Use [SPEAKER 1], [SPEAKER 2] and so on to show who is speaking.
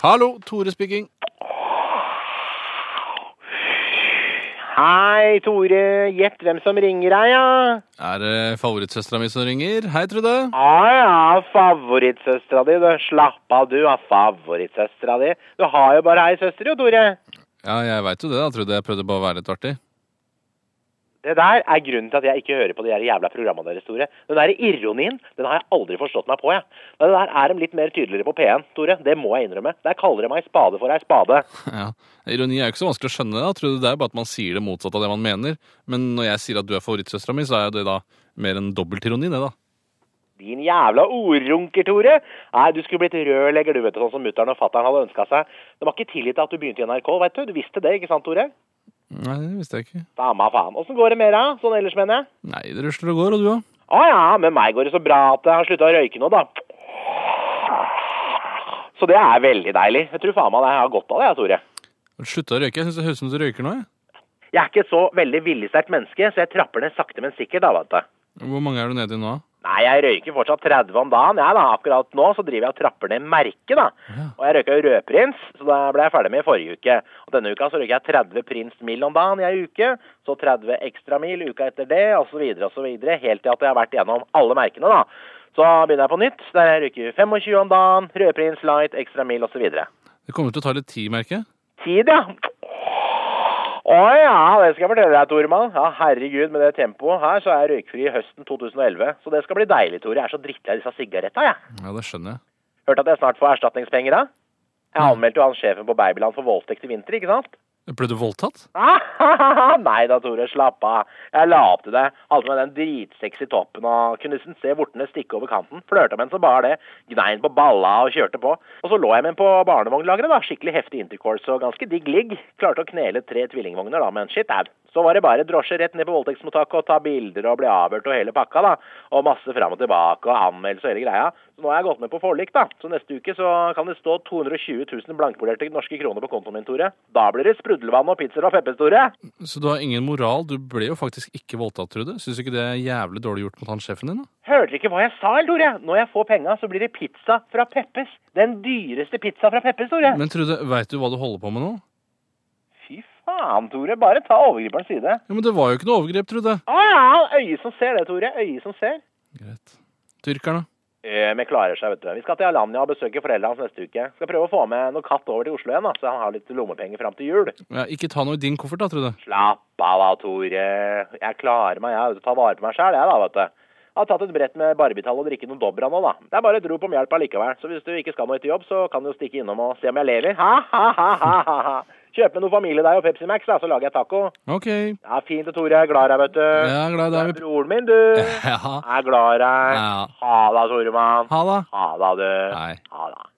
[SPEAKER 1] Hallo, Tore speaking.
[SPEAKER 2] Hei, Tore. Gjett hvem som ringer deg, ja?
[SPEAKER 1] Er det favorittsøstera mi som ringer? Hei, Trude.
[SPEAKER 2] Ah, ja, favorittsøstera di. Du, slapp av, du har favorittsøstera di. Du har jo bare ei søster, jo, Tore.
[SPEAKER 1] Ja, jeg veit jo det, da, Trude. Jeg prøvde bare å være litt artig.
[SPEAKER 2] Det der er grunnen til at jeg ikke hører på de der jævla programmene deres, Tore. Den der ironien, den har jeg aldri forstått meg på, jeg. Men det der er de litt mer tydeligere på P1, Tore. Det må jeg innrømme. Der kaller de meg spade for ei spade.
[SPEAKER 1] Ja. Ironi er jo ikke så vanskelig å skjønne. da, Trude. Det er jo bare at man sier det motsatte av det man mener. Men når jeg sier at du er favorittsøstera mi, så er jo det da mer enn dobbeltironi, det, da.
[SPEAKER 2] Din jævla ordrunker, Tore. Nei, du skulle blitt rørlegger, du, vet du, sånn som mutter'n og fatter'n hadde ønska seg. De var ikke tilgitt at du begynte i NRK, veit du. Du visste det, ikke sant, Tore?
[SPEAKER 1] Nei, det visste jeg ikke.
[SPEAKER 2] Samme faen. Åssen går det med deg? Sånn ellers, mener jeg.
[SPEAKER 1] Nei, det rusler og går, og du òg.
[SPEAKER 2] Å ja, med meg går det så bra at jeg har slutta å røyke nå, da. Så det er veldig deilig. Jeg tror faen meg det jeg har godt av det, jeg, Tore.
[SPEAKER 1] Slutta å røyke. Jeg syns det høres ut som du røyker nå. jeg.
[SPEAKER 2] Jeg er ikke et så veldig viljesterkt menneske, så jeg trapper ned sakte, men sikkert, da, vet du.
[SPEAKER 1] Hvor mange er du nede i nå?
[SPEAKER 2] Nei, jeg røyker fortsatt 30 om dagen, jeg, da. Akkurat nå så driver jeg og trapper ned merket, da.
[SPEAKER 1] Ja.
[SPEAKER 2] Og jeg røyka jo rødprins, så det ble jeg ferdig med i forrige uke. Og denne uka så røyker jeg 30 prins mil om dagen i ei uke, så 30 ekstra mil uka etter det, og så videre og så videre, helt til at jeg har vært gjennom alle merkene, da. Så begynner jeg på nytt, der jeg røyker 25 om dagen, rødprins, light, ekstra mil og så videre.
[SPEAKER 1] Det kommer til å ta litt tid, merker jeg.
[SPEAKER 2] Tid, ja. Å ja, det skal jeg fortelle deg, Toremann. Ja, herregud, med det tempoet her, så er jeg røykfri høsten 2011. Så det skal bli deilig, Tore. Jeg er så drittlei av disse sigaretta, jeg.
[SPEAKER 1] Ja, det skjønner jeg.
[SPEAKER 2] Hørte at jeg snart får erstatningspenger, da? Jeg anmeldte jo han sjefen på Babyland for voldtekt i vinter, ikke sant?
[SPEAKER 1] Ble du voldtatt?
[SPEAKER 2] Nei da, Tore, slapp av. Jeg la opp til deg. Hadde med den dritsexy toppen og kunne nesten se vortene stikke over kanten. Flørta med den som bare det. Gnei den på balla og kjørte på. Og så lå jeg med den på barnevognlageret, da. Skikkelig heftig intercourse og ganske digg ligg. Klarte å knele tre tvillingvogner, da, men shit au. Så var det bare drosje rett ned på voldtektsmottaket og ta bilder og bli avhørt og hele pakka, da. Og masse fram og tilbake og anmeldelse og hele greia. Så nå har jeg gått med på forlik, da. Så neste uke så kan det stå 220 000 blankpolerte norske kroner på kontoen min, Tore. Da blir det sprudlevann og pizzaer fra Peppes, Tore.
[SPEAKER 1] Så du har ingen moral. Du ble jo faktisk ikke voldtatt, Trude. Syns du ikke det er jævlig dårlig gjort mot han sjefen din, da?
[SPEAKER 2] Hørte dere ikke hva jeg sa, eller, Tore? Når jeg får penga, så blir det pizza fra Peppes. Den dyreste pizza fra Peppes, Tore.
[SPEAKER 1] Men Trude, veit du hva du holder på med nå?
[SPEAKER 2] Fy faen, Tore. Bare ta overgriperens side.
[SPEAKER 1] Ja, Men det var jo ikke noe overgrep, Trude.
[SPEAKER 2] Å ja, øyet som ser det, Tore. Øyet som ser.
[SPEAKER 1] Greit. Tyrkerne.
[SPEAKER 2] Eh, Men klarer seg, vet du. Vi skal til Alanya og besøke foreldrene hans neste uke. Skal prøve å få med noe katt over til Oslo igjen, da, så han har litt lommepenger fram til jul.
[SPEAKER 1] Ja, ikke ta noe i din koffert, da, Trude.
[SPEAKER 2] Slapp av da, Tore. Jeg klarer meg, jeg. vet du. Tar vare på meg sjæl, jeg da, vet du. Jeg har tatt et brett med barbitall og drikke noen Dobra nå, da. Det er bare et rop om hjelp allikevel. Så hvis du ikke skal noe etter jobb, så kan du jo stikke innom og se om jeg lever. Ha, ha, ha, ha, ha, ha. Kjøp med noe familiedeig og Pepsi Max, da, så lager jeg taco.
[SPEAKER 1] Ok. Jeg
[SPEAKER 2] Ja, fint, Tore. Jeg er glad i deg, vet du.
[SPEAKER 1] er glad i
[SPEAKER 2] Du er
[SPEAKER 1] deg.
[SPEAKER 2] broren min, du.
[SPEAKER 1] Ja.
[SPEAKER 2] Jeg er glad i deg.
[SPEAKER 1] Ja.
[SPEAKER 2] Ha det, Toremann.
[SPEAKER 1] Ha det.
[SPEAKER 2] Ha det, du.
[SPEAKER 1] Nei.
[SPEAKER 2] Ha det.